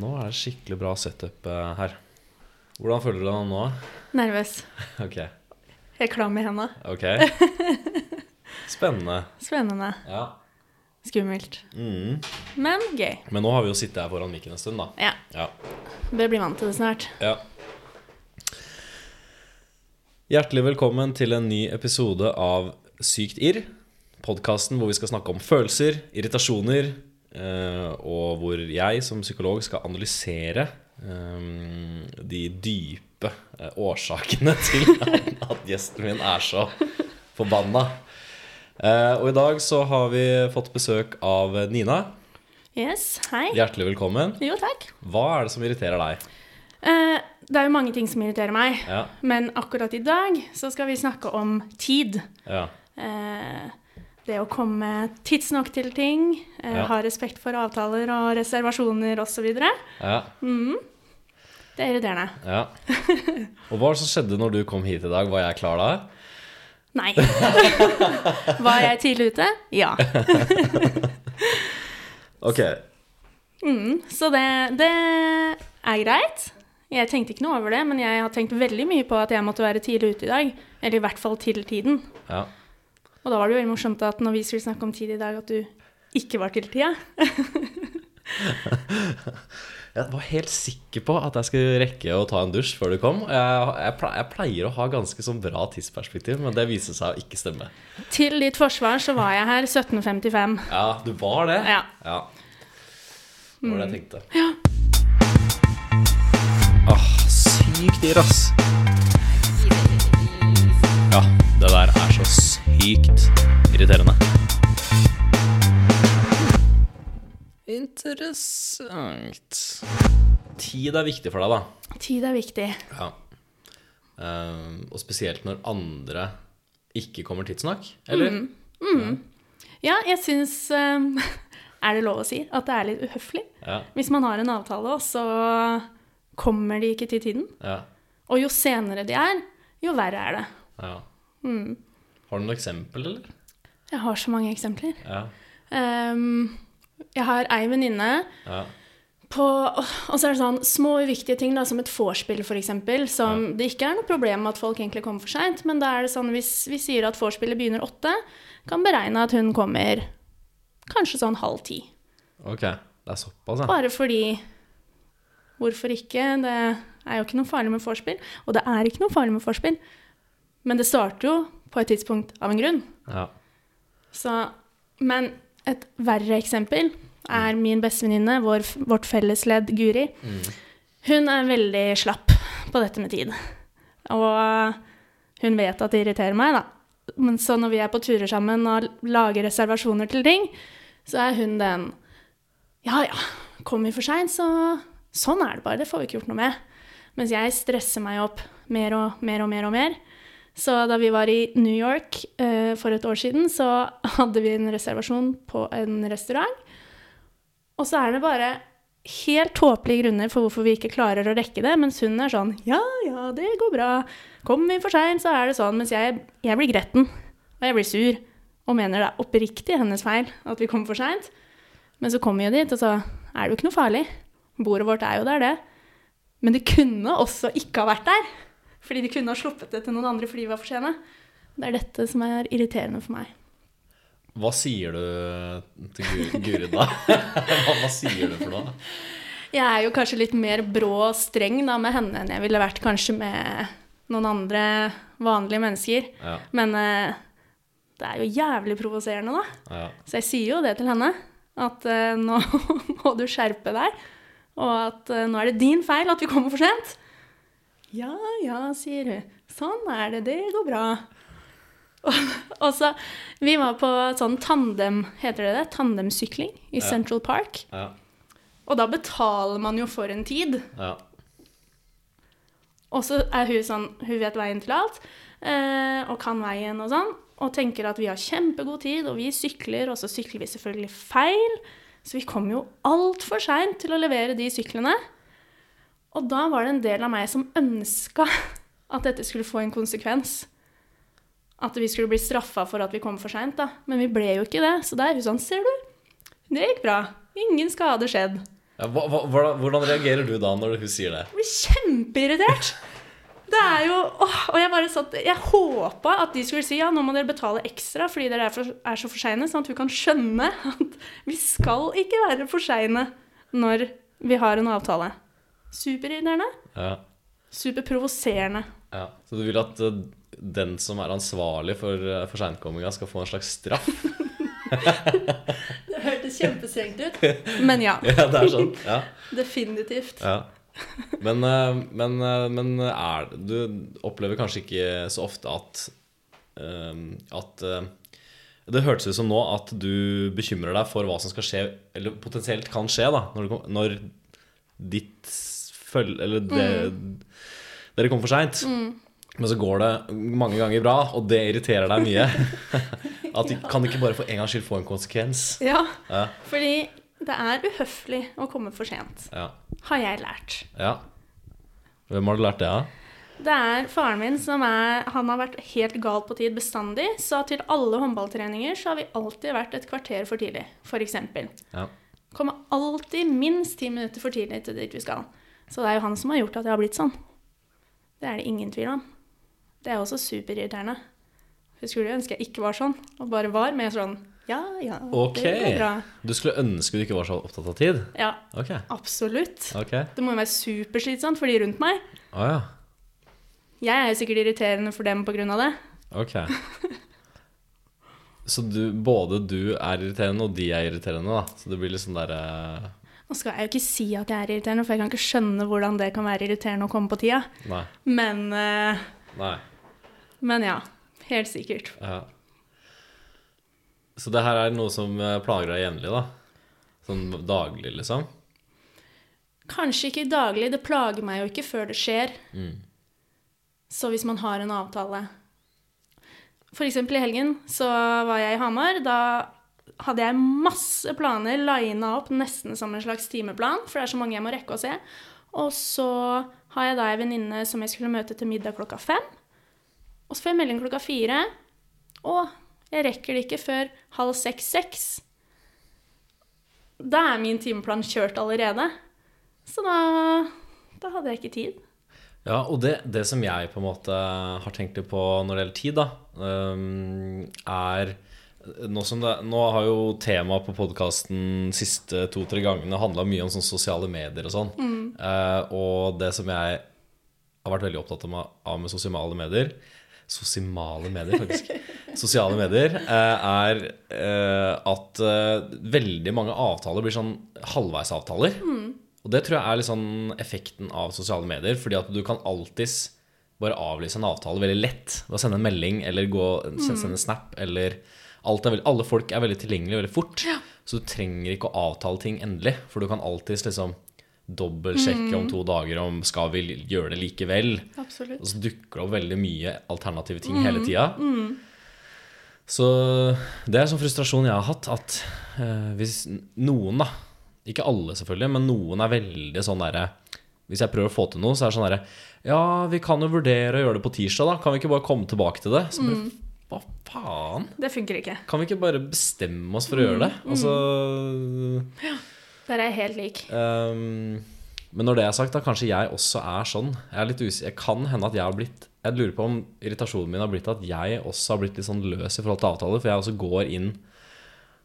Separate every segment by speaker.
Speaker 1: Nå er det skikkelig bra setup eh, her. Hvordan føler du deg nå?
Speaker 2: Nervøs.
Speaker 1: Ok.
Speaker 2: Jeg er klam i henda.
Speaker 1: ok. Spennende.
Speaker 2: Spennende.
Speaker 1: Ja.
Speaker 2: Skummelt.
Speaker 1: Mm.
Speaker 2: Men gøy.
Speaker 1: Men nå har vi jo sittet her foran mikken en stund, da.
Speaker 2: Ja.
Speaker 1: Ja.
Speaker 2: Bør bli vant til det snart.
Speaker 1: ja. Hjertelig velkommen til en ny episode av Sykt irr. Podkasten hvor vi skal snakke om følelser, irritasjoner, eh, og hvor jeg som psykolog skal analysere eh, de dype eh, årsakene til at gjesten min er så forbanna. Eh, og i dag så har vi fått besøk av Nina.
Speaker 2: Yes. Hei.
Speaker 1: Hjertelig velkommen.
Speaker 2: Jo, takk.
Speaker 1: Hva er det som irriterer deg?
Speaker 2: Eh, det er jo mange ting som irriterer meg,
Speaker 1: Ja,
Speaker 2: men akkurat i dag så skal vi snakke om tid.
Speaker 1: ja,
Speaker 2: Eh, det å komme tidsnok til ting, eh,
Speaker 1: Ja.
Speaker 2: ha respekt for avtaler og reservasjoner osv. Det
Speaker 1: ja,
Speaker 2: er irriterende.
Speaker 1: ja. Og hva er det som skjedde når du kom hit i dag? Var jeg klar da?
Speaker 2: Nei. Var jeg tidlig ute? Ja.
Speaker 1: Ok,
Speaker 2: Mm, så det, det er greit. Jeg tenkte ikke noe over det, men jeg har tenkt veldig mye på at jeg måtte være tidlig ute i dag. Eller i hvert fall til tiden.
Speaker 1: ja.
Speaker 2: Og da var det jo veldig morsomt at når vi skulle snakke om tid i dag, at du ikke var til tida.
Speaker 1: Jeg var helt sikker på at jeg skulle rekke å ta en dusj før du kom. Jeg, jeg, pleier, jeg pleier å ha ganske sånn bra tidsperspektiv, men det viser seg å ikke stemme.
Speaker 2: Til ditt forsvar så var jeg her 17.55.
Speaker 1: Ja, du var det?
Speaker 2: Ja.
Speaker 1: Det var det jeg tenkte. Ja. Åh, sykt dyr, ass. Ja, det der er så sykt irriterende. Interessant. Tid er viktig for deg, da.
Speaker 2: Tid er viktig.
Speaker 1: Ja. Ehm, og spesielt når andre ikke kommer tidsnok, eller?
Speaker 2: Ja, jeg syns ehm, Er det lov å si at det er litt uhøflig?
Speaker 1: Ja,
Speaker 2: Hvis man har en avtale, og så kommer de ikke til tiden.
Speaker 1: ja,
Speaker 2: Og jo senere de er, jo verre er det.
Speaker 1: ja. Har du noe eksempel, eller?
Speaker 2: Jeg har så mange eksempler.
Speaker 1: Ja,
Speaker 2: Ehm, jeg har ei venninne
Speaker 1: ja,
Speaker 2: på Og så er det sånn små uviktige ting, da, som et vorspiel f.eks., som det ikke er noe problem med at folk egentlig kommer for seint, men da er det sånn hvis vi sier at vorspielet begynner åtte, kan beregne at hun kommer kanskje sånn halv ti.
Speaker 1: ok. Det er såpass, ja.
Speaker 2: Bare fordi Hvorfor ikke? Det er jo ikke noe farlig med vorspiel. Og det er ikke noe farlig med vorspiel, men det starter jo på et tidspunkt av en grunn.
Speaker 1: ja.
Speaker 2: Så, men et verre eksempel er min bestevenninne, vår, vårt fellesledd Guri. Hun er veldig slapp på dette med tid. Og hun vet at det irriterer meg, da. Men så når vi er på turer sammen og lager reservasjoner til ting, så er hun den Ja ja, kommer vi for seint, så sånn er det bare. Det får vi ikke gjort noe med. Mens jeg stresser meg opp mer og mer og mer og mer. Så da vi var i New York eh, for et år siden, så hadde vi en reservasjon på en restaurant. Og så er det bare helt tåpelige grunner for hvorfor vi ikke klarer å rekke det, mens hun er sånn Ja, ja, det går bra. Kommer vi for seint, så er det sånn. Mens jeg, jeg blir gretten. Og jeg blir sur. Og mener det er oppriktig hennes feil at vi kommer for seint. Men så kommer vi jo dit, og så er det jo ikke noe farlig. Bordet vårt er jo der, det. Men det kunne også ikke ha vært der. Fordi de kunne ha sluppet det til noen andre fordi vi var for sene. Det er dette som er irriterende for meg.
Speaker 1: Hva sier du til Gu- Guri da? hva, hva sier du for noe?
Speaker 2: Jeg er jo kanskje litt mer brå og streng da med henne enn jeg ville vært kanskje med noen andre vanlige mennesker.
Speaker 1: Ja,
Speaker 2: Men eh, det er jo jævlig provoserende, da.
Speaker 1: ja,
Speaker 2: Så jeg sier jo det til henne. At eh, nå må du skjerpe deg. Og at eh, nå er det din feil at vi kommer for sent. Ja, ja, sier hun. Sånn er det. Det går bra. Og, og så Vi var på sånn tandem, heter det det? Tandemsykling i Central Park.
Speaker 1: ja,
Speaker 2: Og da betaler man jo for en tid.
Speaker 1: ja.
Speaker 2: Og så er hun sånn Hun vet veien til alt. eh, Og kan veien og sånn. Og tenker at vi har kjempegod tid, og vi sykler, og så sykler vi selvfølgelig feil. Så vi kom jo altfor seint til å levere de syklene. Og da var det en del av meg som ønska at dette skulle få en konsekvens. At vi skulle bli straffa for at vi kom for seint, da. Men vi ble jo ikke det. Så der er hun sånn Ser du? Det gikk bra. Ingen skade skjedd.
Speaker 1: Ja, hva, hva, hvordan- hvordan reagerer du da når hun sier det?
Speaker 2: Jeg blir kjempeirritert. Det er jo åh, Og jeg bare satt Jeg håpa at de skulle si ja, nå må dere betale ekstra fordi dere er, for, er så for seine, sånn at hun kan skjønne at vi skal ikke være for seine når vi har en avtale. Superirriterende.
Speaker 1: Ja,
Speaker 2: Superprovoserende.
Speaker 1: ja. Så du vil at eh, den som er ansvarlig for, eh, for seinkomminga, skal få en slags straff?
Speaker 2: Det hørtes kjempestrengt ut. Men ja.
Speaker 1: Ja, det er sånn. Ja,
Speaker 2: Definitivt.
Speaker 1: ja. Men, eh, men, eh, men er, du opplever kanskje ikke så ofte at eh, At eh, Det hørtes ut som nå at du bekymrer deg for hva som skal skje, eller potensielt kan skje, da, når, du kom, når ditt følge Eller det, dere kom for seint. Men så går det mange ganger bra, og det irriterer deg mye. At de, Kan de ikke bare for en gangs skyld få en konsekvens?
Speaker 2: Ja,
Speaker 1: Ja.
Speaker 2: fordi det er uhøflig å komme for sent,
Speaker 1: Ja.
Speaker 2: har jeg lært.
Speaker 1: Ja. Hvem har du lært det av?
Speaker 2: Det er faren min som er, han har vært helt gal på tid bestandig, så til alle håndballtreninger så har vi alltid vært et kvarter for tidlig, f.eks.
Speaker 1: Ja.
Speaker 2: Kommer alltid minst ti minutter for tidlig til dit vi skal. Så det er jo han som har gjort at jeg har blitt sånn. Det er det ingen tvil om. Det er også superirriterende. Jeg skulle jo ønske jeg ikke var sånn, og bare var mer sånn ja, ja,
Speaker 1: Ok.
Speaker 2: det går bra.
Speaker 1: Du skulle ønske du ikke var så opptatt av tid?
Speaker 2: Ja,
Speaker 1: Ok.
Speaker 2: absolutt.
Speaker 1: Ok.
Speaker 2: Det må jo være superslitsomt for de rundt meg.
Speaker 1: Å ja.
Speaker 2: Jeg er jo sikkert irriterende for dem pga. det.
Speaker 1: Ok. Så du, både du er irriterende, og de er irriterende, da. Så det blir litt sånn derre
Speaker 2: Nå skal jeg jo ikke si at jeg er irriterende, for jeg kan ikke skjønne hvordan det kan være irriterende å komme på tida.
Speaker 1: Nei.
Speaker 2: Men, eh,
Speaker 1: Nei.
Speaker 2: men ja. Helt sikkert.
Speaker 1: Ja. Så det her er noe som eh, plager deg jevnlig, da? Sånn daglig, liksom?
Speaker 2: Kanskje ikke daglig. Det plager meg jo ikke før det skjer. Så hvis man har en avtale For eksempel i helgen så var jeg i Hamar. Da hadde jeg masse planer lina opp nesten som en slags timeplan, for det er så mange jeg må rekke å se. Og så har jeg da ei venninne som jeg skulle møte til middag klokka fem. Og så får jeg melding klokka fire. Å, jeg rekker det ikke før halv seks-seks. Da er min timeplan kjørt allerede. Så da, da hadde jeg ikke tid.
Speaker 1: Ja, og det, det som jeg på en måte har tenkt litt på når det gjelder tid, da, øhm, er eh, nå, som det, nå har jo temaet på podkasten siste to-tre gangene handla mye om sånn sosiale medier og sånn. Eh, og det som jeg har vært veldig opptatt av med- av med sosiale medier Sosimale medier, faktisk. sosiale medier eh, er eh, at eh, veldig mange avtaler blir sånn halvveisavtaler. Og det tror jeg er litt sånn effekten av sosiale medier, fordi at du kan alltids bare avlyse en avtale veldig lett ved å sende en melding eller gå, sende, sende en snap eller alt er veldig, Alle folk er veldig tilgjengelige veldig fort, så du trenger ikke å avtale ting endelig, for du kan alltids liksom dobbeltsjekke om to dager om skal vi gjøre det likevel.
Speaker 2: Absolutt.
Speaker 1: Og så dukker det opp veldig mye alternative ting hele tida. Så det er sånn frustrasjon jeg har hatt, at eh, hvis noen, da Ikke alle, selvfølgelig, men noen er veldig sånn derre Hvis jeg prøver å få til noe, så er det sånn derre Ja, vi kan jo vurdere å gjøre det på tirsdag, da. Kan vi ikke bare komme tilbake til det? Så bare, Hva faen?
Speaker 2: Det funker ikke.
Speaker 1: Kan vi ikke bare bestemme oss for å gjøre det? Altså, Og så
Speaker 2: Der er jeg helt lik.
Speaker 1: Ehm, men når det er sagt, da kanskje jeg også er sånn. Jeg er litt us jeg kan hende at jeg har blitt Jeg lurer på om irritasjonen min har blitt at jeg også har blitt litt sånn løs i forhold til avtaler. For jeg også går inn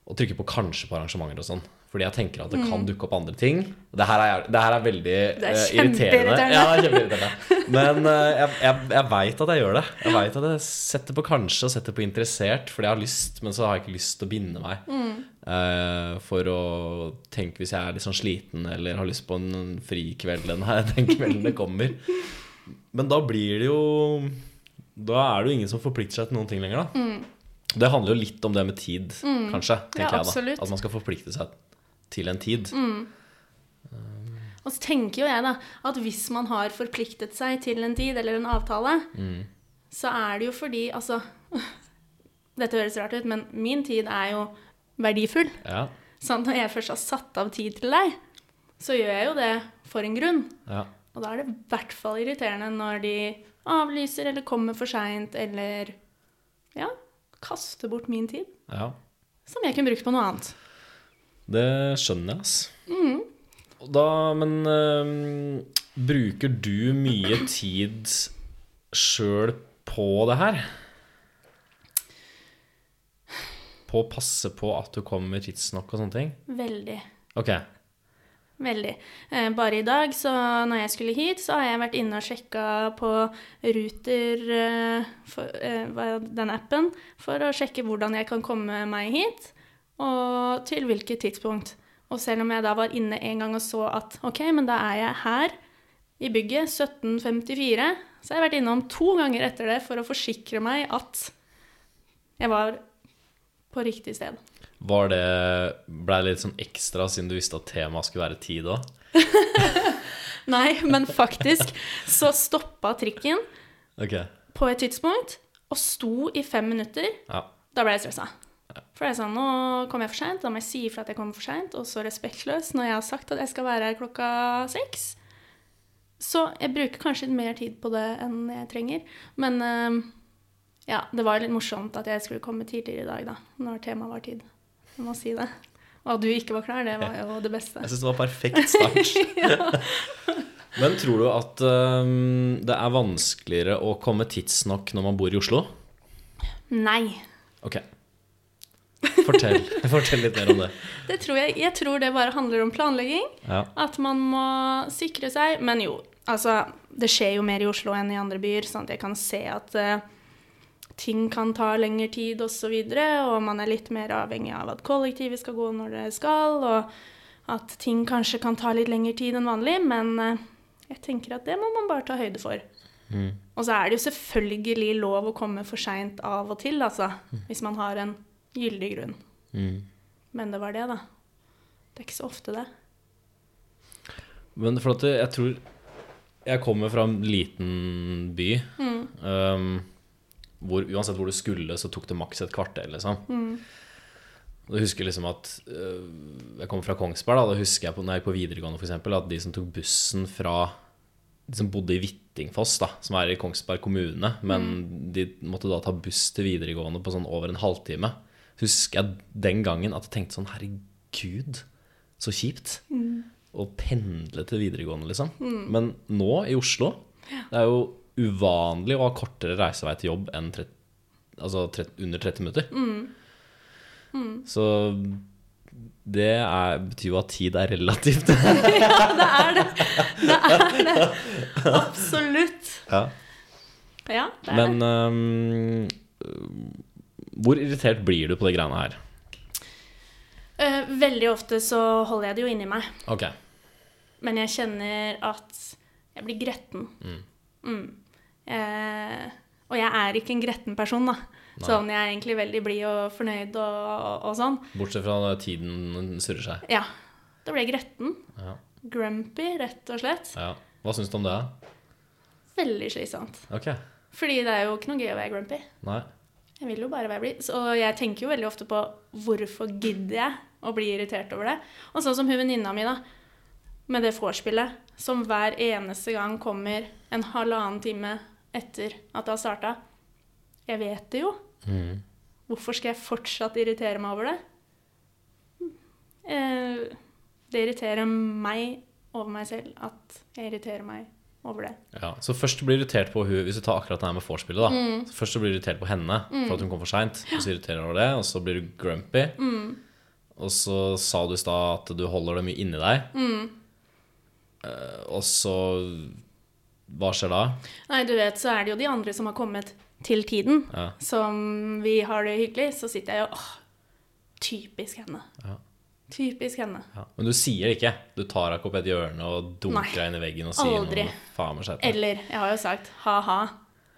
Speaker 1: og trykker på 'kanskje' på arrangementer og sånn. Fordi jeg tenker at det kan dukke opp andre ting. Det her er, det her er veldig
Speaker 2: Mm. Det er
Speaker 1: eh, irriterende.
Speaker 2: kjempeirriterende.
Speaker 1: Ja, det er kjempeirriterende. Men eh, jeg, jeg, jeg veit at jeg gjør det. Jeg vet at jeg setter på kanskje og setter på interessert fordi jeg har lyst, men så har jeg ikke lyst til å binde meg.
Speaker 2: Mm.
Speaker 1: Eh, for å tenke hvis jeg er litt sånn sliten eller har lyst på en frikveld den, her- den kvelden det kommer. Men da blir det jo Da er det jo ingen som forplikter seg til noen ting lenger, da. Det handler jo litt om det med tid, kanskje.
Speaker 2: Mm. Ja,
Speaker 1: tenker jeg
Speaker 2: absolutt. Mm.
Speaker 1: da At man skal forplikte seg til en tid.
Speaker 2: Og så tenker jo jeg da, at hvis man har forpliktet seg til en tid eller en avtale, så er det jo fordi Altså, dette høres rart ut, men min tid er jo verdifull.
Speaker 1: Ja,
Speaker 2: Så når jeg først har satt av tid til deg, så gjør jeg jo det for en grunn.
Speaker 1: ja.
Speaker 2: Og da er det i hvert fall irriterende når de avlyser eller kommer for seint eller ja, kaster bort min tid,
Speaker 1: ja.
Speaker 2: som jeg kunne brukt på noe annet. Mm.
Speaker 1: Det skjønner jeg, ass. Og Da, men øhm, bruker du mye tid sjøl på det her? På å passe på at du kommer tidsnok og sånne ting?
Speaker 2: Veldig.
Speaker 1: Ok.
Speaker 2: Veldig. Eh, bare i dag, så når jeg skulle hit, så har jeg vært inne og sjekka på Ruter, eh, for, eh, hva- den appen, for å sjekke hvordan jeg kan komme meg hit, og til hvilket tidspunkt. Og selv om jeg da var inne en gang og så at OK, men da er jeg her i bygget 1754, så har jeg vært innom to ganger etter det for å forsikre meg at jeg var på riktig sted.
Speaker 1: Var det Ble det litt sånn ekstra siden du visste at temaet skulle være tid òg?
Speaker 2: Nei, men faktisk så stoppa trikken.
Speaker 1: Ok.
Speaker 2: på et tidspunkt og sto i fem minutter.
Speaker 1: Ja.
Speaker 2: Da ble jeg stressa. For jeg sa nå kom jeg for seint, da må jeg si ifra at jeg kommer for seint. Og så respektløs når jeg har sagt at jeg skal være her klokka seks. Så jeg bruker kanskje litt mer tid på det enn jeg trenger. Men eh, ja, det var litt morsomt at jeg skulle komme tidligere i dag, da. Når temaet var tid. Jeg må si det. Og at du ikke var klar, det var jo det beste.
Speaker 1: Jeg syns det var perfekt start. Men tror du at øhm, det er vanskeligere å komme tidsnok når man bor i Oslo?
Speaker 2: Nei.
Speaker 1: Ok. Fortell, Fortell litt mer om det.
Speaker 2: Det tror jeg, jeg tror det bare handler om planlegging.
Speaker 1: Ja.
Speaker 2: At man må sikre seg. Men jo, altså Det skjer jo mer i Oslo enn i andre byer, sånn at jeg kan se at eh, ting kan ta lengre tid osv. Og, så videre, og man er litt mer avhengig av at kollektivet skal gå når det skal, og at ting kanskje kan ta litt lengre tid enn vanlig. Men eh, jeg tenker at det må man bare ta høyde for.
Speaker 1: Mm.
Speaker 2: Og så er det jo selvfølgelig lov å komme for seint av og til, altså. Hvis man har en gyldig grunn.
Speaker 1: Mm.
Speaker 2: Men det var det, da. Det er ikke så ofte, det.
Speaker 1: Men for at jeg tror Jeg kommer fra en liten by um, hvor uansett hvor du skulle, så tok det maks et kvarter, liksom. Og Jeg husker liksom at øh, Jeg kommer fra Kongsberg, da. Da husker jeg på, når jeg gikk på videregående, for eksempel, at de som tok bussen fra De som bodde i Hvittingfoss, da, som er i Kongsberg kommune, men de måtte da ta buss til videregående på sånn over en halvtime. Husker jeg den gangen at jeg tenkte sånn Herregud, så kjipt å pendle til videregående, liksom.
Speaker 2: Mm.
Speaker 1: Men nå, i Oslo, det er jo uvanlig å ha kortere reisevei til jobb enn 30, altså 30, under 30 minutter.
Speaker 2: Mm.
Speaker 1: Så det er, betyr jo at tid er relativt.
Speaker 2: Det er det. Det er det. Absolutt. Ja, det er det.
Speaker 1: Men øhm, øhm, hvor irritert blir du på de greiene her?
Speaker 2: Eh, veldig ofte så holder jeg det jo inni meg.
Speaker 1: Ok.
Speaker 2: Men jeg kjenner at jeg blir gretten. Mm. Eh, og jeg er ikke en gretten person, da. Sånn, jeg er egentlig veldig blid og fornøyd og, og, og sånn.
Speaker 1: Bortsett fra når tiden surrer seg.
Speaker 2: Ja. Da ble jeg gretten.
Speaker 1: Ja.
Speaker 2: Grumpy, rett og slett.
Speaker 1: ja. Hva syns du om det?
Speaker 2: Veldig slitsomt.
Speaker 1: Ok.
Speaker 2: Fordi det er jo ikke noe gøy å være grumpy.
Speaker 1: Nei.
Speaker 2: Jeg vil jo bare være blid. Så jeg tenker jo veldig ofte på hvorfor gidder jeg å bli irritert over det? Og sånn som hun venninna mi, da. Med det vorspielet som hver eneste gang kommer en halvannen time etter at det har starta. Jeg vet det jo. Hvorfor skal jeg fortsatt irritere meg over det? Eh, Det irriterer meg over meg selv at jeg irriterer meg over det.
Speaker 1: Ja, så først du blir irritert på hun Hvis du tar akkurat det her med vorspielet, da.
Speaker 2: Mm.
Speaker 1: Så først du blir irritert på henne for at hun kom for seint, og så irriterer du over det, og så blir du grumpy.
Speaker 2: Mm.
Speaker 1: Og så sa du i stad at du holder det mye inni deg.
Speaker 2: Mm.
Speaker 1: Eh, og så Hva skjer da?
Speaker 2: Nei, du vet, så er det jo de andre som har kommet til tiden,
Speaker 1: Ja.
Speaker 2: som vi har det hyggelig, så sitter jeg jo åh, typisk henne.
Speaker 1: Ja.
Speaker 2: Typisk henne.
Speaker 1: Ja. Men du sier det ikke. Du tar deg ikke opp i et hjørne og
Speaker 2: Nei.
Speaker 1: dunker deg inn i veggen og sier
Speaker 2: Aldri.
Speaker 1: noe faen meg skjerp deg.
Speaker 2: Eller, jeg har jo sagt, ha-ha,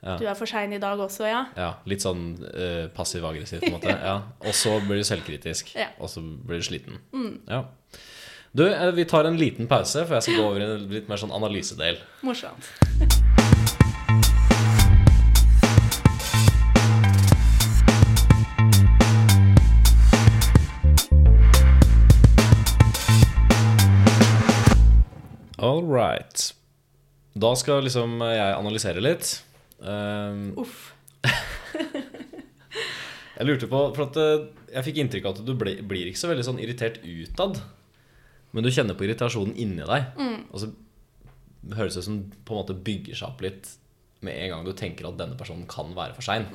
Speaker 1: Ja.
Speaker 2: du er for sein i dag også, ja.
Speaker 1: Ja, litt sånn eh, passiv-aggressiv, på en måte. Ja. Og så blir du selvkritisk,
Speaker 2: Ja.
Speaker 1: og så blir du sliten. Ja. Du, eh, vi tar en liten pause, for jeg skal gå over i en litt mer sånn analysedel.
Speaker 2: Morsomt.
Speaker 1: All right. Da skal liksom eh, jeg analysere litt. Ehm,
Speaker 2: Uff.
Speaker 1: jeg lurte på For at eh, jeg fikk inntrykk av at du ble, blir ikke så veldig sånn irritert utad. Men du kjenner på irritasjonen inni deg. Og så høres det ut som på en måte bygger seg opp litt med en gang du tenker at denne personen kan være for sein.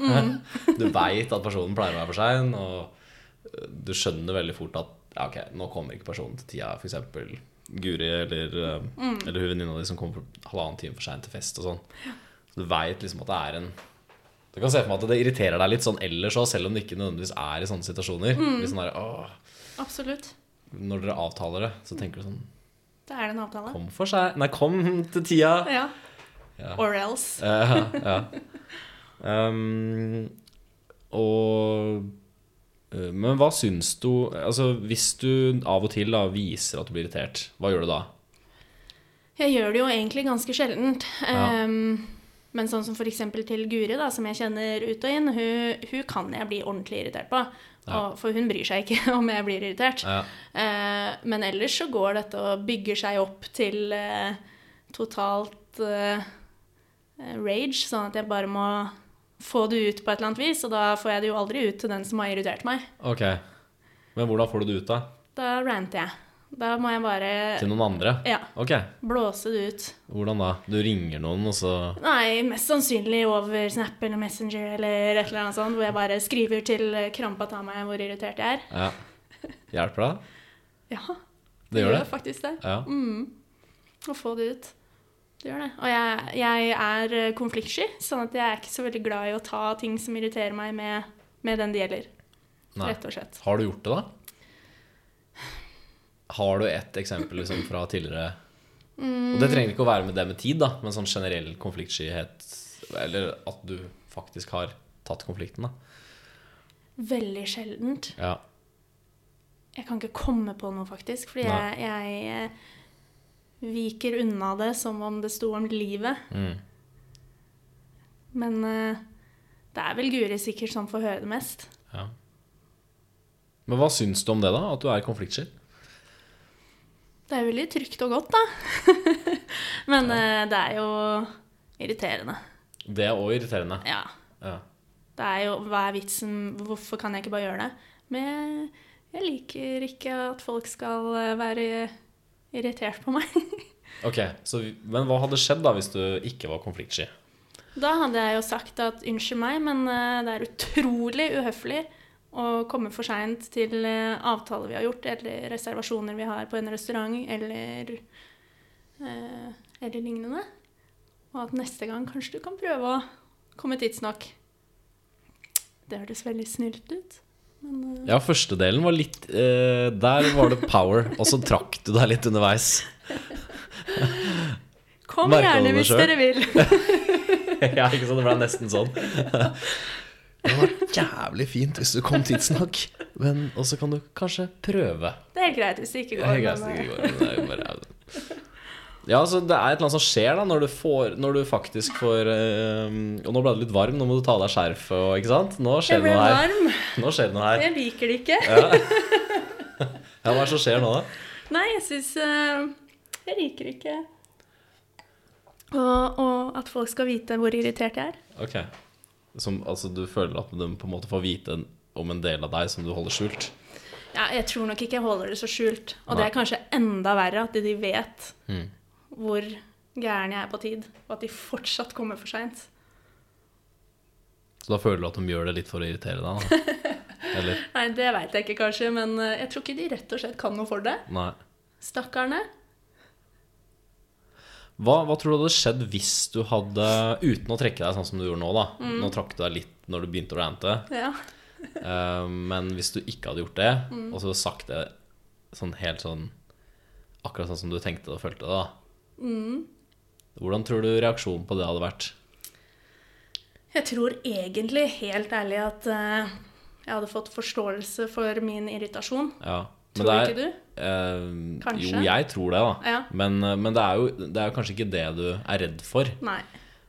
Speaker 1: du veit at personen pleier å være for sein, og eh, du skjønner veldig fort at ja, ok, nå kommer ikke personen til tida, f.eks. Guri eller, eh, eller hun venninna di som kommer halvannen time for seint til fest og sånn. Så du veit liksom at det er en Du kan se for meg at det irriterer deg litt sånn ellers òg, selv om det ikke nødvendigvis er i sånne situasjoner. Litt sånn der, åh,
Speaker 2: Absolutt.
Speaker 1: når dere avtaler det, så tenker du sånn
Speaker 2: Det er det en avtale.
Speaker 1: Kom for seg Nei, kom til tida!
Speaker 2: Ja.
Speaker 1: Ja.
Speaker 2: Or else.
Speaker 1: Ja, ja. Um, og eh, Men hva syns du Altså, hvis du av og til da viser at du blir irritert, hva gjør du da?
Speaker 2: Jeg gjør det jo egentlig ganske sjeldent.
Speaker 1: Ja.
Speaker 2: Ehm, men sånn som f.eks. til Guri, da, som jeg kjenner ut og inn, hun, hun kan jeg bli ordentlig irritert på.
Speaker 1: Ja.
Speaker 2: Og, for hun bryr seg ikke om jeg blir irritert.
Speaker 1: Ja.
Speaker 2: Eh, men ellers så går dette og bygger seg opp til eh, totalt eh, rage, sånn at jeg bare må få det ut på et eller annet vis. Og da får jeg det jo aldri ut til den som har irritert meg.
Speaker 1: Ok. Men hvordan får du det ut, da?
Speaker 2: Da ranter jeg. Da må jeg bare
Speaker 1: Til noen andre?
Speaker 2: ja,
Speaker 1: Ok.
Speaker 2: blåse det ut.
Speaker 1: Hvordan da? Du ringer noen, og så
Speaker 2: Nei, mest sannsynlig over Snap eller Messenger eller et eller annet sånt, hvor jeg bare skriver til eh, krampa tar meg hvor irritert jeg er.
Speaker 1: ja. Hjelper det?
Speaker 2: Ja,
Speaker 1: Det gjør det?
Speaker 2: faktisk det.
Speaker 1: Ja.
Speaker 2: Mm. Å få det ut. Det gjør det. Og jeg, jeg er eh, konfliktsky, sånn at jeg er ikke så veldig glad i å ta ting som irriterer meg, med, med den det gjelder.
Speaker 1: Nei.
Speaker 2: Rett og slett.
Speaker 1: Har du gjort det, da? Har du et eksempel liksom, fra tidligere Og det trenger ikke å være med det med tid, da, men sånn generell konfliktskyhet Eller at du faktisk har tatt konflikten, da.
Speaker 2: Veldig sjeldent.
Speaker 1: Ja.
Speaker 2: Jeg kan ikke komme på noe, faktisk, fordi
Speaker 1: Nei.
Speaker 2: jeg, jeg eh, viker unna det som om det sto om livet.
Speaker 1: Mm.
Speaker 2: Men eh, det er vel Guri sikkert som får høre det mest.
Speaker 1: ja. Men hva syns du om det, da? At du er konfliktsky?
Speaker 2: Det er veldig trygt og godt, da. Men eh, det er jo irriterende.
Speaker 1: Det er òg irriterende.
Speaker 2: Ja.
Speaker 1: Ja.
Speaker 2: Det er jo Hva er vitsen? Hvorfor kan jeg ikke bare gjøre det? Men jeg- jeg liker ikke at folk skal eh, være irritert på meg.
Speaker 1: Ok, så, vi- Men hva hadde skjedd da hvis du ikke var konfliktsky?
Speaker 2: Da hadde jeg jo sagt at unnskyld meg, men eh, det er utrolig uhøflig å komme for seint til eh, avtaler vi har gjort, eller reservasjoner vi har på en restaurant, eller, eh, eller lignende. Og at neste gang kanskje du kan prøve å komme tidsnok. Det hørtes veldig snilt ut. Men eh,
Speaker 1: Ja, første delen var litt eh, Der var det power, og så trakk du deg litt underveis.
Speaker 2: kom
Speaker 1: merker du
Speaker 2: gjerne
Speaker 1: det
Speaker 2: hvis
Speaker 1: selv?
Speaker 2: dere vil.
Speaker 1: Ja, ikke sant? Det ble nesten sånn. Det var jævlig fint hvis du kom tidsnok, men også kan du kanskje prøve.
Speaker 2: Det er helt greit hvis det
Speaker 1: Det
Speaker 2: ikke går.
Speaker 1: er greit at
Speaker 2: men,
Speaker 1: det
Speaker 2: eh,
Speaker 1: ikke går, men det er jo bare... Ja, altså det er et eller annet som skjer da Når du, får, når du faktisk får eh, Og nå ble det litt varm, nå må du ta av deg skjerfet og, Ikke sant? Nå skjer
Speaker 2: Jeg
Speaker 1: det
Speaker 2: ble
Speaker 1: noe her
Speaker 2: varm.
Speaker 1: Nå skjer det noe her
Speaker 2: Jeg liker det ikke.
Speaker 1: Ja, hva er det som skjer nå da?
Speaker 2: Nei, jeg syns Jeg liker ikke og, og at folk skal vite hvor irritert jeg er.
Speaker 1: Ok som, Altså du føler at de på en måte får vite Om en del av deg som du holder skjult
Speaker 2: Ja, jeg tror nok ikke jeg holder det så skjult. Og det
Speaker 1: Nei.
Speaker 2: er kanskje enda verre at de vet
Speaker 1: Mm.
Speaker 2: hvor gæren jeg er på tid, og at de fortsatt kommer for seint.
Speaker 1: Så da føler du at de gjør det litt for å irritere deg da Eller?
Speaker 2: Nei, det veit jeg ikke kanskje, men eh, jeg tror ikke de rett og slett kan noe for det.
Speaker 1: Nei
Speaker 2: Stakkarene.
Speaker 1: Hva, hva tror du hadde skjedd hvis du hadde, uten å trekke deg sånn som du gjorde nå, da
Speaker 2: Mm.
Speaker 1: Nå trakk du deg litt når du begynte å rante,
Speaker 2: Ja.
Speaker 1: eh, men hvis du ikke hadde gjort det,
Speaker 2: Mm.
Speaker 1: og så sagt det sånn helt sånn Akkurat sånn som du tenkte og følte det, da.
Speaker 2: Mm.
Speaker 1: Hvordan tror du reaksjonen på det hadde vært?
Speaker 2: Jeg tror egentlig, helt ærlig, at eh, jeg hadde fått forståelse for min irritasjon.
Speaker 1: Ja.
Speaker 2: Tror ikke du?
Speaker 1: eh,
Speaker 2: Kanskje?
Speaker 1: Jo, jeg tror det, da.
Speaker 2: Ja.
Speaker 1: Men, eh, men det, er jo, det er jo kanskje ikke det du er redd for.
Speaker 2: Nei.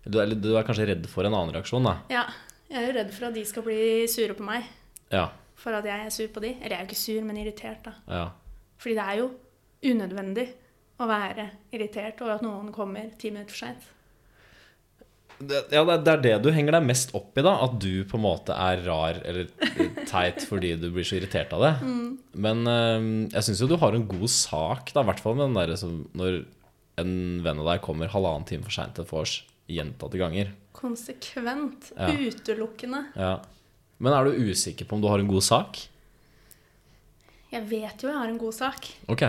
Speaker 1: Du er, du er kanskje redd for en annen reaksjon, da.
Speaker 2: Ja. Jeg er jo redd for at de skal bli sure på meg.
Speaker 1: Ja.
Speaker 2: for at jeg er sur på de. Eller jeg er jo ikke sur, men irritert, da.
Speaker 1: ja.
Speaker 2: Fordi det er jo unødvendig å være irritert over at noen kommer ti minutter for seint.
Speaker 1: det, ja, det er- det er det du henger deg mest opp i, da. At du på en måte er rar eller teit fordi du blir så irritert av det. Men eh, jeg syns jo du har en god sak, da, i hvert fall med den derre som når en venn av deg kommer halvannen time for seint til et vors gjentatte ganger.
Speaker 2: Konsekvent.
Speaker 1: Ja.
Speaker 2: Utelukkende.
Speaker 1: Ja. Men er du usikker på om du har en god sak?
Speaker 2: Jeg vet jo jeg har en god sak,
Speaker 1: Ok.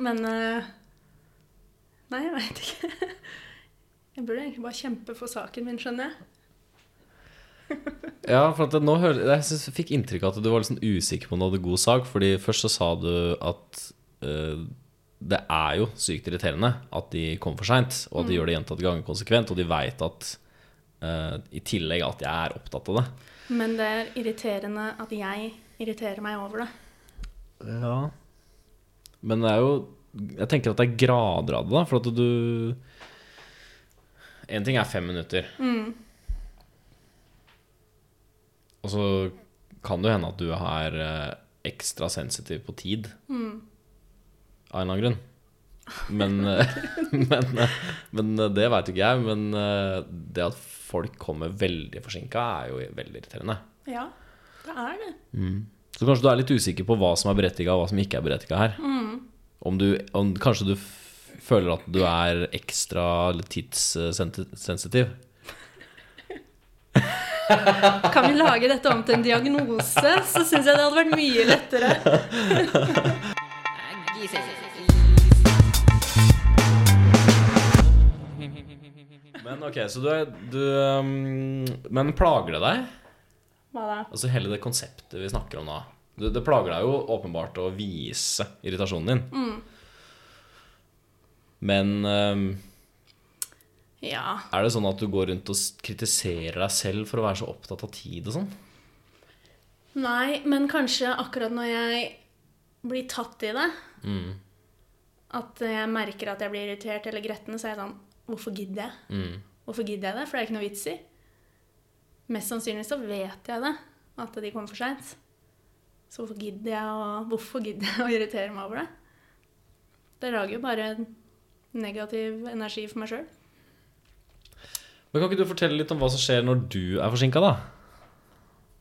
Speaker 2: men eh, Nei, jeg veit ikke. Jeg burde egentlig bare kjempe for saken min, skjønner jeg.
Speaker 1: Ja, for at det- nå hører, jeg synes, jeg fikk inntrykk av at du var litt sånn usikker på om du hadde god sak. Fordi først så sa du at eh, det er jo sykt irriterende at de kommer for seint, og at de gjør det gjentatte ganger konsekvent, og de veit at eh, i tillegg at jeg er opptatt av det.
Speaker 2: Men det er irriterende at jeg irriterer meg over det.
Speaker 1: Ja. Men det er jo Jeg tenker at det er grader av det, da, for at du Én ting er fem minutter. Og så kan det jo hende at du er eh, ekstra sensitiv på tid. Av en eller annen grunn. Men, eh, men, eh, men eh, det veit jo ikke jeg. Men eh, det at folk kommer veldig forsinka, er jo veldig irriterende.
Speaker 2: Ja, det er det.
Speaker 1: Så kanskje du er litt usikker på hva som er berettiget og hva som ikke er berettiget her. Om du, om, kanskje du f- føler at du er ekstra tidssensitiv.
Speaker 2: Kan vi lage dette om til en diagnose, så syns jeg det hadde vært mye lettere.
Speaker 1: Men ok, så du, er, du um, Men plager det deg?
Speaker 2: Hva da?
Speaker 1: Altså hele det konseptet vi snakker om nå. Du, det plager deg jo åpenbart å vise irritasjonen din. Men um,
Speaker 2: Ja.
Speaker 1: er det sånn at du går rundt og s- kritiserer deg selv for å være så opptatt av tid og sånn?
Speaker 2: Nei, men kanskje akkurat når jeg blir tatt i det,
Speaker 1: Mm,
Speaker 2: at jeg merker at jeg blir irritert eller gretten, så er jeg sånn Hvorfor gidder jeg?
Speaker 1: Mm.
Speaker 2: Hvorfor gidder jeg det? For det er ikke noe vits i. Mest sannsynlig så vet jeg det, at de kommer for seint. Så hvorfor gidder jeg å, hvorfor gidder jeg å irritere meg over det? Det lager jo bare negativ energi for meg sjøl.
Speaker 1: Men Kan ikke du fortelle litt om hva som skjer når du er forsinka, da?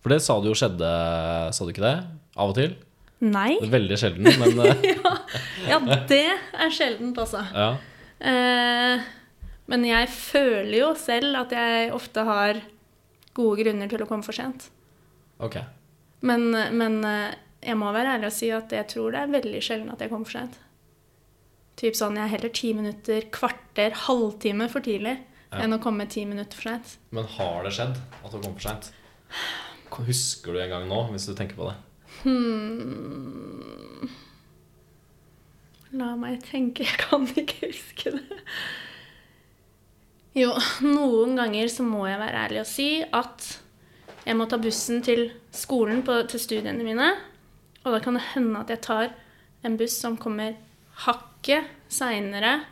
Speaker 1: For det sa du jo skjedde, sa du ikke det? Av og til?
Speaker 2: Nei.
Speaker 1: Det er Veldig sjelden, men eh,
Speaker 2: Ja, det er sjeldent, altså.
Speaker 1: ja.
Speaker 2: Eh, men jeg føler jo selv at jeg ofte har gode grunner til å komme for sent.
Speaker 1: Ok.
Speaker 2: Men, men eh, jeg må være ærlig og si at jeg tror det er veldig sjelden at jeg kommer for sent. Typ sånn, Jeg er heller ti minutter, kvarter, halvtime for tidlig
Speaker 1: Ja.
Speaker 2: enn å komme ti minutter for sent.
Speaker 1: Men har det skjedd at du kom for seint? Husker du en gang nå, hvis du tenker på det?
Speaker 2: La meg tenke, jeg kan ikke huske det. Jo, noen ganger så må jeg være ærlig og si at jeg må ta bussen til skolen på, til studiene mine. Og da kan det hende at jeg tar en buss som kommer hakket seinere,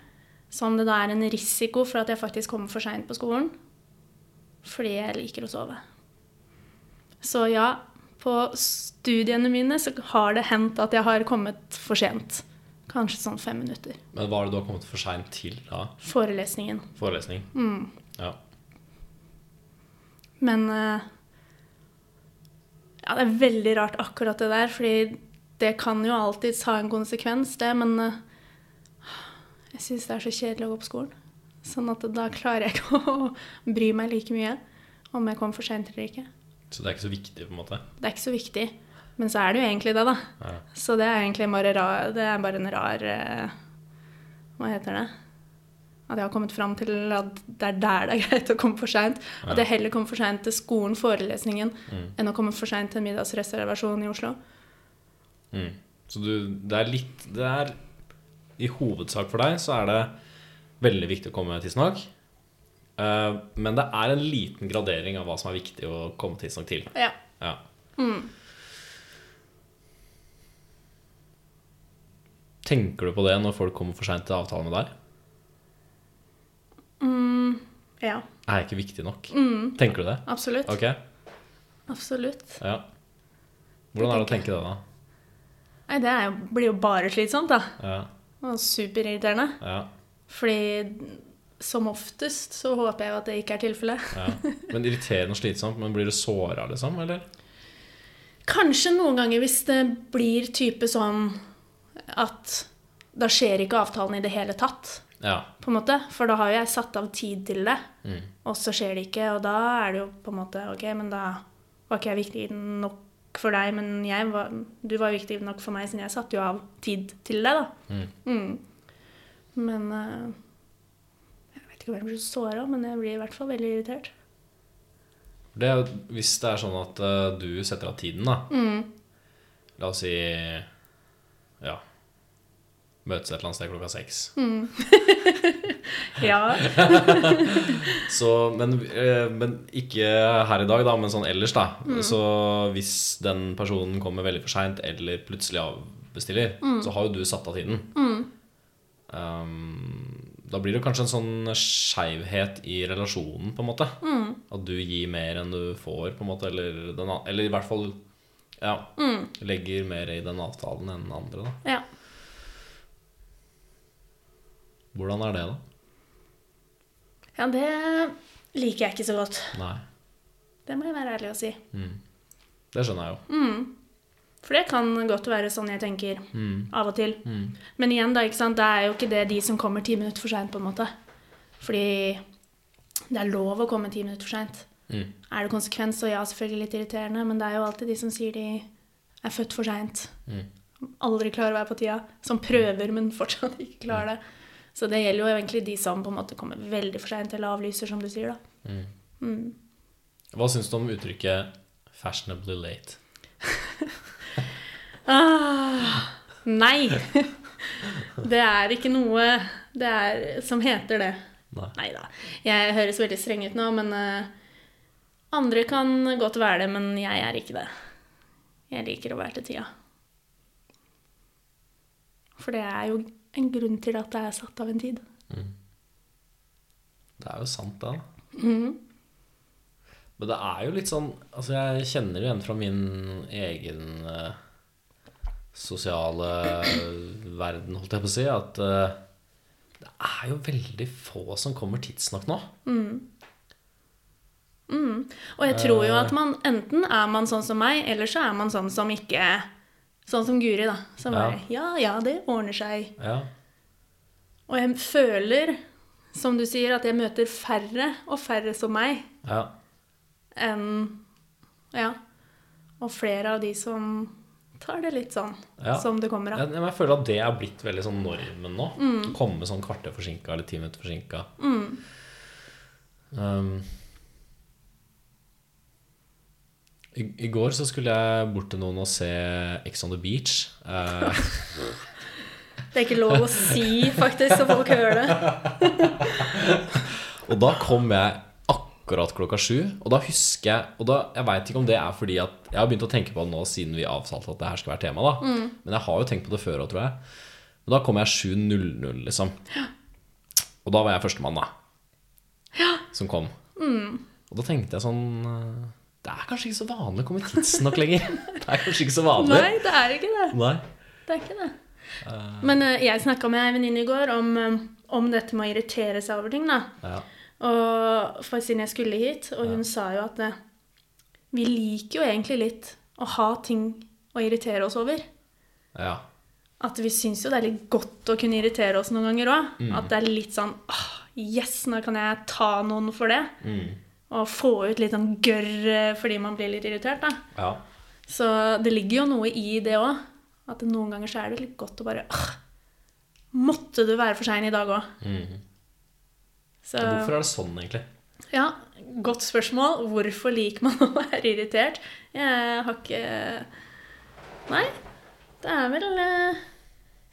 Speaker 2: som det da er en risiko for at jeg faktisk kommer for seint på skolen. Fordi jeg liker å sove. Så ja, på studiene mine så har det hendt at jeg har kommet for sent. Kanskje sånn fem minutter.
Speaker 1: Men hva er det du har kommet for seint til da?
Speaker 2: Forelesningen.
Speaker 1: Forelesning? Ja.
Speaker 2: Men eh, Ja, det er veldig rart akkurat det der, fordi det kan jo alltids ha en konsekvens, det, men eh, jeg syns det er så kjedelig å gå på skolen. Sånn at da klarer jeg ikke å bry meg like mye om jeg kommer for seint eller ikke.
Speaker 1: Så det er ikke så viktig, på en måte?
Speaker 2: Det er ikke så viktig. Men så er det jo egentlig det, da.
Speaker 1: Ja.
Speaker 2: Så det er egentlig bare, ra- det er bare en rar eh, Hva heter det? At jeg har kommet fram til at det er der det er greit å komme for seint. At jeg heller kommer for seint til skolen, forelesningen, enn å komme for seint til en middagsreservasjon i Oslo.
Speaker 1: Mm. Så du, det er litt Det er I hovedsak for deg så er det veldig viktig å komme tidsnok. Eh, men det er en liten gradering av hva som er viktig å komme tidsnok til.
Speaker 2: Ja.
Speaker 1: Ja. Tenker du på det når folk kommer for seint til avtale med deg?
Speaker 2: ja.
Speaker 1: Er jeg ikke viktig nok? Tenker du det?
Speaker 2: Absolutt.
Speaker 1: Ok,
Speaker 2: Absolutt.
Speaker 1: ja Hvordan er det å tenke det, da?
Speaker 2: Nei, det er jo, blir jo bare slitsomt, da.
Speaker 1: Ja,
Speaker 2: Og superirriterende.
Speaker 1: ja.
Speaker 2: Fordi som oftest så håper jeg jo at det ikke er tilfellet.
Speaker 1: Ja. Men irriterende og slitsomt. Men blir du såra, liksom? Eller?
Speaker 2: Kanskje noen ganger hvis det blir type sånn at da skjer ikke avtalen i det hele tatt,
Speaker 1: Ja.
Speaker 2: på en måte. For da har jo jeg satt av tid til det,
Speaker 1: Mm.
Speaker 2: og så skjer det ikke. Og da er det jo på en måte OK, men da var ikke jeg viktig nok for deg, men jeg var, du var jo viktig nok for meg, siden jeg satte jo av tid til det, da.
Speaker 1: Mm.
Speaker 2: Mm. Men eh, Jeg vet ikke hva jeg blir så såra, men jeg blir i hvert fall veldig irritert.
Speaker 1: Det er, jo- hvis det er sånn at eh, du setter av tiden, da La oss si ja møtes et eller annet sted klokka seks.
Speaker 2: Ja.
Speaker 1: Så, men, eh, men ikke her i dag, da, men sånn ellers, da. Så hvis den personen kommer veldig for seint eller plutselig avbestiller, så har jo du satt av tiden. Um, da blir det kanskje en sånn skeivhet i relasjonen, på en måte. At du gir mer enn du får, på en måte, eller, den, an- eller i hvert fall ja, legger mer i den avtalen enn andre. Da.
Speaker 2: ja.
Speaker 1: Hvordan er det, da?
Speaker 2: Ja, det liker jeg ikke så godt.
Speaker 1: Nei.
Speaker 2: Det må jeg være ærlig og si.
Speaker 1: Det skjønner jeg jo.
Speaker 2: For det kan godt være sånn jeg tenker
Speaker 1: Mm.
Speaker 2: av og til.
Speaker 1: Mm.
Speaker 2: Men igjen, da, ikke sant? det er jo ikke det de som kommer ti minutter for seint, på en måte. Fordi det er lov å komme ti minutter for seint.
Speaker 1: Mm.
Speaker 2: Er det konsekvens, så ja, selvfølgelig litt irriterende, men det er jo alltid de som sier de er født for seint.
Speaker 1: Mm.
Speaker 2: Aldri klarer å være på tida. Som prøver, men fortsatt ikke
Speaker 1: Mm.
Speaker 2: klarer det. Så det gjelder jo egentlig de som på en måte kommer veldig for seint, eller avlyser, som du sier, da.
Speaker 1: Mm.
Speaker 2: Mm.
Speaker 1: Hva syns du om uttrykket 'fashionably late'?
Speaker 2: Ah, nei. Det er ikke noe det er, som heter det.
Speaker 1: Nei.
Speaker 2: Nei da. Jeg høres veldig streng ut nå, men eh, andre kan godt være det, men jeg er ikke det. Jeg liker å være til tida. For det er jo en grunn til at det er satt av en tid.
Speaker 1: Det er jo sant, det. da.
Speaker 2: Mhm.
Speaker 1: Men det er jo litt sånn Altså, jeg kjenner det igjen fra min egen eh, sosiale verden, holdt jeg på å si, at eh, det er jo veldig få som kommer tidsnok nå.
Speaker 2: Og jeg tror jo at man enten er man sånn som meg, eller så er man sånn som ikke Sånn som Guri, da. Som
Speaker 1: Ja.
Speaker 2: bare Ja ja, det ordner seg.
Speaker 1: Ja.
Speaker 2: Og jeg føler, som du sier, at jeg møter færre og færre som meg
Speaker 1: ja.
Speaker 2: enn Ja. Og flere av de som tar det litt sånn
Speaker 1: Ja.
Speaker 2: som det kommer av.
Speaker 1: Jeg, jeg føler at det er blitt veldig sånn normen nå. Komme sånn kvarter forsinka eller ti minutter forsinka. Um, i, I går så skulle jeg bort til noen og se Ex on the Beach. Eh,
Speaker 2: Det er ikke lov å si, faktisk, så folk hører det.
Speaker 1: og da kom jeg akkurat klokka sju. Og da husker jeg Og da, jeg veit ikke om det er fordi at Jeg har begynt å tenke på det nå siden vi avtalte at det her skal være tema, da. Men jeg har jo tenkt på det før òg, tror jeg. Men da kom jeg 7.00, liksom. Og da var jeg førstemann, da. Som kom. Og da tenkte jeg sånn eh, Det er kanskje ikke så vanlig å komme tidsnok lenger. Det er kanskje ikke så vanlig.
Speaker 2: Nei, det er ikke det.
Speaker 1: Nei.
Speaker 2: Det er ikke det. Men eh, jeg snakka med ei venninne i går om, eh, om dette med å irritere seg over ting, da.
Speaker 1: Ja.
Speaker 2: Og for siden jeg skulle hit, og hun sa jo at eh, vi liker jo egentlig litt å ha ting å irritere oss over.
Speaker 1: ja.
Speaker 2: At vi syns jo det er litt godt å kunne irritere oss noen ganger òg.
Speaker 1: Mm.
Speaker 2: At det er litt sånn åh, Yes, nå kan jeg ta noen for det.
Speaker 1: Mm.
Speaker 2: Og få ut litt sånn gørr eh, fordi man blir litt irritert, da.
Speaker 1: ja.
Speaker 2: Så det ligger jo noe i det òg. At noen ganger så er det litt godt å bare åh, Måtte du være for sein i dag òg?
Speaker 1: Mm.
Speaker 2: Så
Speaker 1: Hvorfor er det sånn, egentlig?
Speaker 2: ja, godt spørsmål. Hvorfor liker man å være irritert? Jeg har ikke Nei, det er vel eh,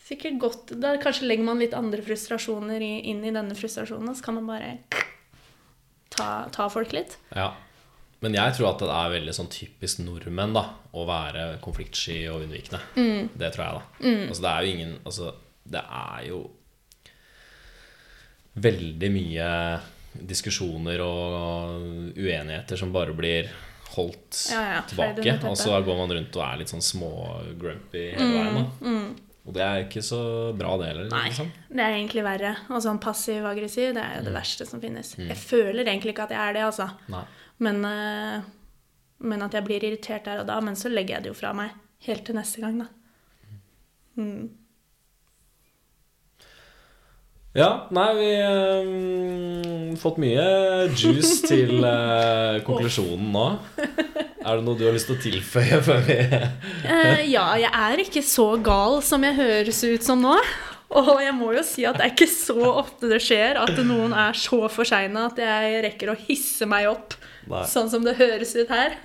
Speaker 2: sikkert godt Da kanskje legger man litt andre frustrasjoner i, inn i denne frustrasjonen, og så kan man bare ta, ta folk litt.
Speaker 1: Ja. Men jeg tror at det er veldig sånn typisk nordmenn da, å være konfliktsky og unnvikende.
Speaker 2: Mm.
Speaker 1: Det tror jeg, da. Altså, det er jo ingen Altså, det er jo veldig mye diskusjoner og uenigheter som bare blir holdt
Speaker 2: Ja, ja, ferdig
Speaker 1: tilbake.
Speaker 2: med dette.
Speaker 1: Og så går man rundt og er litt sånn små-grumpy hele veien. Da. Og det er ikke så bra, det heller.
Speaker 2: Mm. Nei,
Speaker 1: liksom.
Speaker 2: det er egentlig verre. Og sånn passiv-aggressiv, det er jo det
Speaker 1: Mm.
Speaker 2: verste som finnes. Jeg føler egentlig ikke at jeg er det, altså.
Speaker 1: Nei.
Speaker 2: Men, eh, men at jeg blir irritert der og da. Men så legger jeg det jo fra meg helt til neste gang, da. Mm.
Speaker 1: Ja, nei, vi har fått mye juice til eh, konklusjonen nå. Er det noe du har lyst til å tilføye før vi
Speaker 2: Eh, ja, jeg er ikke så gal som jeg høres ut som nå. Og jeg må jo si at det er ikke så ofte det skjer at noen er så forseina at jeg rekker å hisse meg opp,
Speaker 1: Nei.
Speaker 2: sånn som det høres ut her.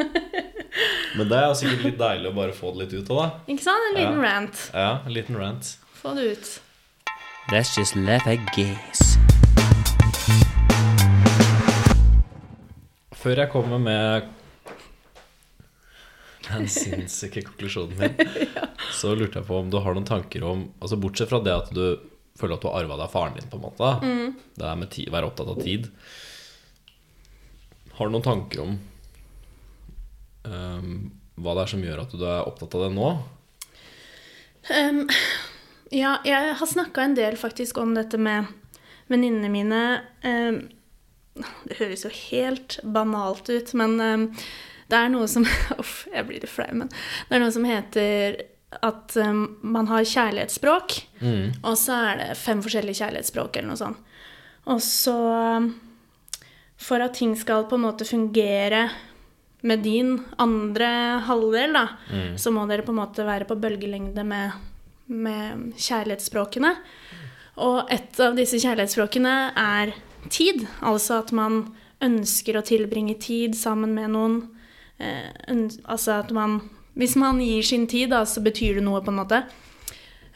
Speaker 1: Men det er sikkert litt deilig å bare få det litt ut av, da.
Speaker 2: ikke sant? En
Speaker 1: Ja.
Speaker 2: liten rant.
Speaker 1: Ja, en liten rant.
Speaker 2: Få det ut.
Speaker 3: Let's just laugh at gays.
Speaker 1: Før jeg kommer med den sinnssyke konklusjonen min, så lurte jeg på om du har noen tanker om Altså Bortsett fra det at du føler at du har arva det av faren din, på en måte. da.
Speaker 2: Mm.
Speaker 1: Det der med ti- være opptatt av tid. Har du noen tanker om ehm, hva det er som gjør at du er opptatt av det nå?
Speaker 2: Ehm, ja, jeg har snakka en del faktisk om dette med venninnene mine. Ehm, det høres jo helt banalt ut, men ehm, det er noe som Uff, jeg blir litt flau, men det er noe som heter at ehm, man har kjærlighetsspråk, og så er det fem forskjellige kjærlighetsspråk eller noe sånt. Og så ehm, For at ting skal på en måte fungere med din andre halvdel, da, så må dere på en måte være på bølgelengde med, med kjærlighetsspråkene. Og et av disse kjærlighetsspråkene er tid, altså at man ønsker å tilbringe tid sammen med noen. Eh, øns- altså at man Hvis man gir sin tid, da, så betyr det noe, på en måte.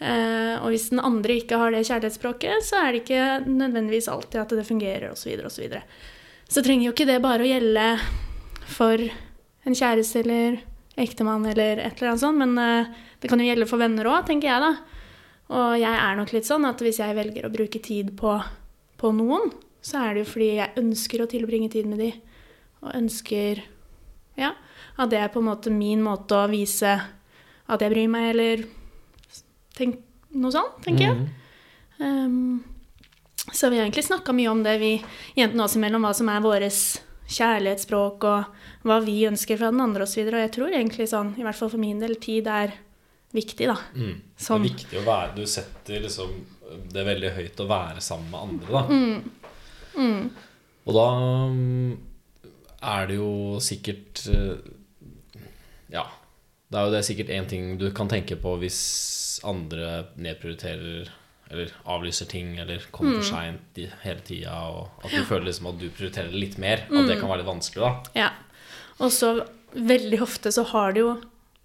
Speaker 2: Eh, og hvis den andre ikke har det kjærlighetsspråket, så er det ikke nødvendigvis alltid at det fungerer, osv., osv. Så trenger jo ikke det bare å gjelde for en kjæreste eller ektemann eller et eller annet sånt, men eh, det kan jo gjelde for venner òg, tenker jeg, da. Og jeg er nok litt sånn at hvis jeg velger å bruke tid på, på noen, så er det jo fordi jeg ønsker å tilbringe tid med de, og ønsker Ja. At det er på en måte min måte å vise at jeg bryr meg, eller tenk, noe sånt, tenker jeg.
Speaker 1: Mm.
Speaker 2: Ehm, så vi har egentlig snakka mye om det, vi jentene oss imellom, hva som er våres kjærlighetsspråk, og hva vi ønsker fra den andre osv. Og, så videre. og jeg tror egentlig sånn, i hvert fall for min del, tid er viktig, da.
Speaker 1: Mm.
Speaker 2: Sånn.
Speaker 1: Det er viktig å være Du setter liksom det veldig høyt å være sammen med andre, da. Og da mm, er det jo sikkert eh, Ja. Det er jo det er sikkert én ting du kan tenke på hvis andre nedprioriterer eller avlyser ting eller kommer for seint hele tida, og at du føler liksom at du prioriterer det litt mer. At det kan være litt vanskelig, da.
Speaker 2: Ja. Og så veldig ofte så har det jo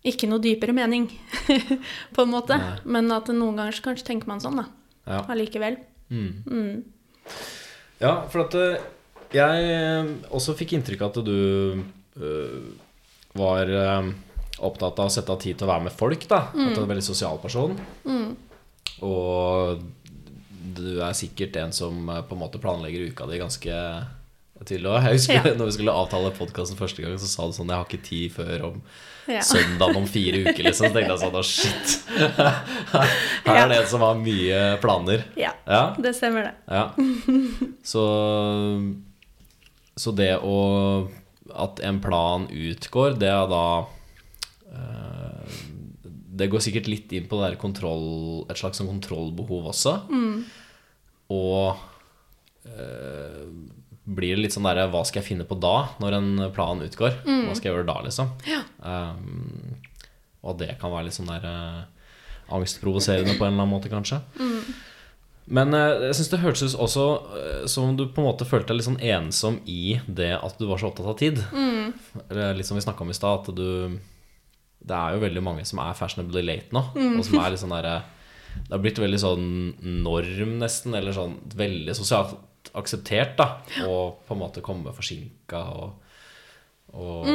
Speaker 2: ikke noe dypere mening, på en måte.
Speaker 1: Nei.
Speaker 2: Men at noen ganger så kanskje tenker man sånn, da.
Speaker 1: Ja.
Speaker 2: Allikevel.
Speaker 1: Ja, for at eh, jeg eh, også fikk inntrykk av at du eh, var eh, opptatt av å sette av tid til å være med folk, da. At du
Speaker 2: Mm.
Speaker 1: er en veldig sosial person. Og du er sikkert en som eh, på en måte planlegger uka di ganske tidlig òg. Jeg husker
Speaker 2: Ja.
Speaker 1: når vi skulle avtale podkasten første gang, så sa du sånn 'Jeg har ikke tid før om
Speaker 2: Ja.
Speaker 1: søndagen om fire uker', liksom. Så tenkte jeg sånn 'Å, shit'. Her
Speaker 2: Ja.
Speaker 1: er det en som har mye planer.
Speaker 2: ja.
Speaker 1: Ja.
Speaker 2: Det stemmer, det.
Speaker 1: Ja. Så, så det å At en plan utgår, det er da eh, Det går sikkert litt inn på det der kontroll, et slags sånn kontrollbehov også. Og eh, blir det litt sånn derre Hva skal jeg finne på da, når en plan utgår? Hva skal jeg gjøre da, liksom? Um, og det kan være litt sånn der eh, angstprovoserende på en eller annen måte, kanskje. Men eh, jeg syns det hørtes ut også eh, som om du på en måte følte deg litt sånn ensom i det at du var så opptatt av tid. Eller Litt som vi snakka om i stad, at du Det er jo veldig mange som er fashionably late nå, og som er litt sånn derre Det har blitt veldig sånn norm, nesten, eller sånn veldig sosialt akseptert, da. Og på en måte komme forsinka og, og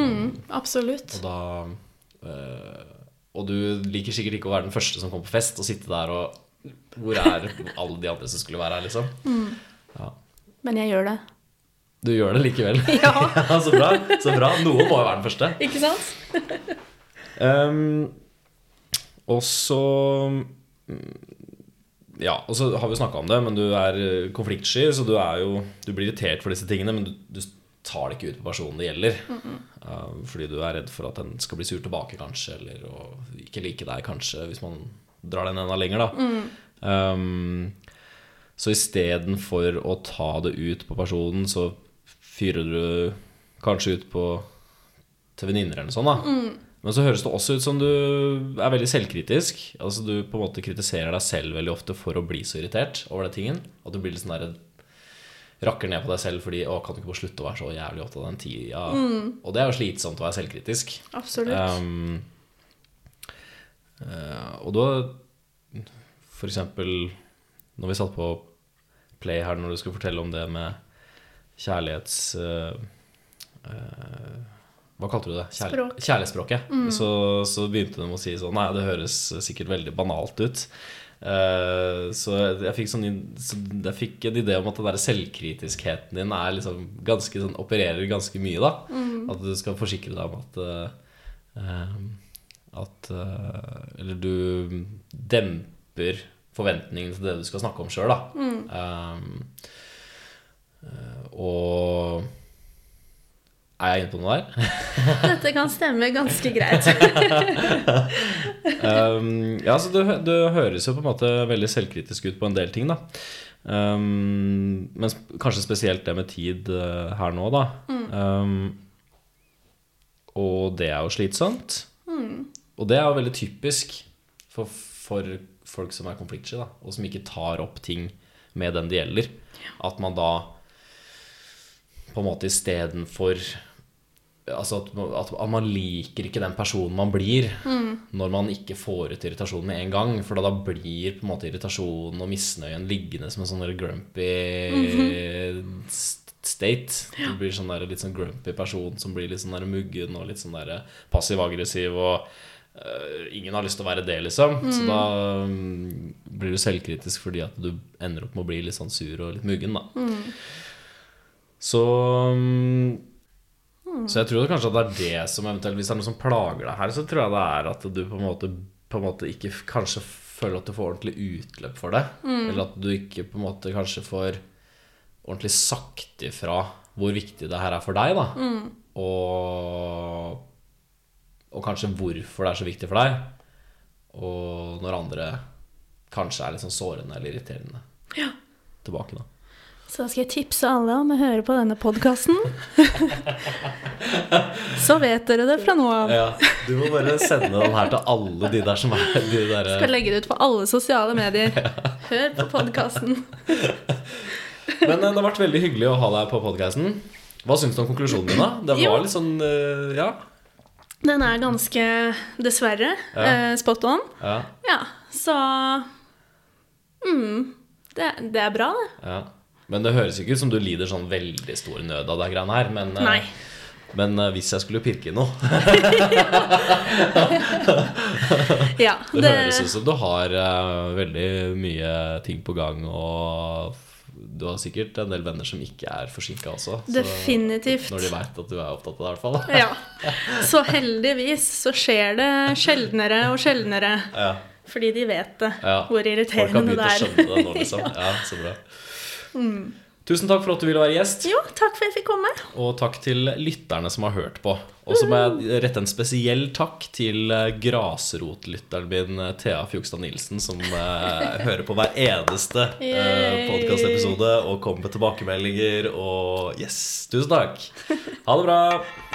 Speaker 2: Absolutt.
Speaker 1: og da eh, Og du liker sikkert ikke å være den første som kommer på fest og sitte der og Hvor er alle de andre som skulle være her, liksom? Ja.
Speaker 2: Men jeg gjør det.
Speaker 1: Du gjør det likevel.
Speaker 2: Ja.
Speaker 1: ja så bra. Så bra. Noe må jo være den første. Ehm,
Speaker 2: Ikke sant?
Speaker 1: Um, og så mm, Ja, og så har vi snakka om det, men du er eh, konfliktsky, så du er jo Du blir irritert for disse tingene, men du, du tar det ikke ut på personen det gjelder. Eh, fordi du er redd for at den skal bli sur tilbake, kanskje, eller å ikke like deg, kanskje, hvis man drar den enda lenger, da. Um, så istedenfor å ta det ut på personen, så fyrer du kanskje ut på til venninner eller noe sånt. Da. Men så høres det også ut som du er veldig selvkritisk. Altså Du på en måte kritiserer deg selv veldig ofte for å bli så irritert over den tingen. At du blir litt sånn der rakker ned på deg selv fordi 'Å, kan du ikke bare slutte å være så jævlig opptatt av den tida?' Og det er jo slitsomt å være selvkritisk.
Speaker 2: Absolutt.
Speaker 1: Um, eh, og da For eksempel Når vi satt på Play her Når du skulle fortelle om det med Kjærlighets eh, eh, Hva kalte du det?
Speaker 2: Språk.
Speaker 1: Kjærlighetsspråket så, så begynte de å si sånn Nei, det høres sikkert veldig banalt ut Eh, så jeg fikk, sånn, in- så jeg fikk en idé om at den der selvkritiskheten din er liksom ganske, sånn, opererer ganske mye. da At du skal forsikre deg om at eh, eh, At eh, Eller du demper forventningene til det du skal snakke om sjøl, da. Eh, eh, og Er jeg inne på noe der?
Speaker 2: Dette kan stemme ganske greit.
Speaker 1: Um, ja, så du, du høres jo på en måte veldig selvkritisk ut på en del ting, da. Um, men sp- kanskje spesielt det med tid eh, her nå, da. Um, og det er jo slitsomt. Og det er jo veldig typisk for, for folk som er konfliktsky, da, og som ikke tar opp ting med den det gjelder. At man da på en måte istedenfor Altså at, man- at man liker ikke den personen man blir når man ikke får ut irritasjonen med en gang. For da, da blir på en måte irritasjonen og misnøyen liggende som en sånn der grumpy st- state. Du blir sånn der, litt sånn grumpy person som blir litt sånn der muggen og litt sånn der passiv-aggressiv. og øh, ingen har lyst til å være det, liksom. Så da mm, blir du selvkritisk fordi at du ender opp med å bli litt sånn sur og litt muggen, da. Så mm, så jeg tror kanskje at det er det som eventuelt Hvis det er noe som plager deg her, så tror jeg det er at du på en måte, på en måte ikke f- kanskje føler at du får ordentlig utløp for det. Eller at du ikke på en måte kanskje får ordentlig sagt ifra hvor viktig det her er for deg, da. Og, og kanskje hvorfor det er så viktig for deg. Og når andre kanskje er litt sånn sårende eller irriterende
Speaker 2: Ja.
Speaker 1: tilbake, da.
Speaker 2: Så da skal jeg tipse alle om å høre på denne podkasten. Så vet dere det fra nå av.
Speaker 1: Ja, du må bare sende den her til alle de der som er de der,
Speaker 2: Skal legge det ut på alle sosiale medier. Hør på podkasten.
Speaker 1: Men eh, det har vært veldig hyggelig å ha deg på podcasten Hva syns du om konklusjonen din, da? Det
Speaker 2: Jo.
Speaker 1: var litt sånn eh, Ja.
Speaker 2: Den er ganske, dessverre,
Speaker 1: Ja.
Speaker 2: eh, spot on.
Speaker 1: ja,
Speaker 2: Ja, så mm, det, det er bra, det.
Speaker 1: ja. Men det høres ikke ut som du lider sånn veldig stor nød av det greiene her. Men, eh,
Speaker 2: Nei.
Speaker 1: men eh, hvis jeg skulle pirke i noe
Speaker 2: Ja,
Speaker 1: Det, høres ut som du har eh, veldig mye ting på gang, og f- du har sikkert en del venner som ikke er forsinka også. så-
Speaker 2: Definitivt.
Speaker 1: Når de veit at du er opptatt av det, i hvert fall.
Speaker 2: Ja. Så heldigvis så skjer det sjeldnere og sjeldnere.
Speaker 1: Ja.
Speaker 2: Fordi de vet det,
Speaker 1: Ja.
Speaker 2: hvor
Speaker 1: Folk har
Speaker 2: irriterende
Speaker 1: begynt å
Speaker 2: det er. Mm.
Speaker 1: skjønne det nå, liksom. Ja, så bra. Tusen takk for at du ville være gjest.
Speaker 2: Jo, takk for at jeg fikk komme.
Speaker 1: Og takk til lytterne som har hørt på. Og så må jeg rette en spesiell takk til eh, grasrotlytteren min, eh, Thea Fjogstad Nilsen, som eh, hører på hver eneste eh,
Speaker 2: Yay.
Speaker 1: podkastepisode og kommer med tilbakemeldinger og Yes! Tusen takk. Ha det bra.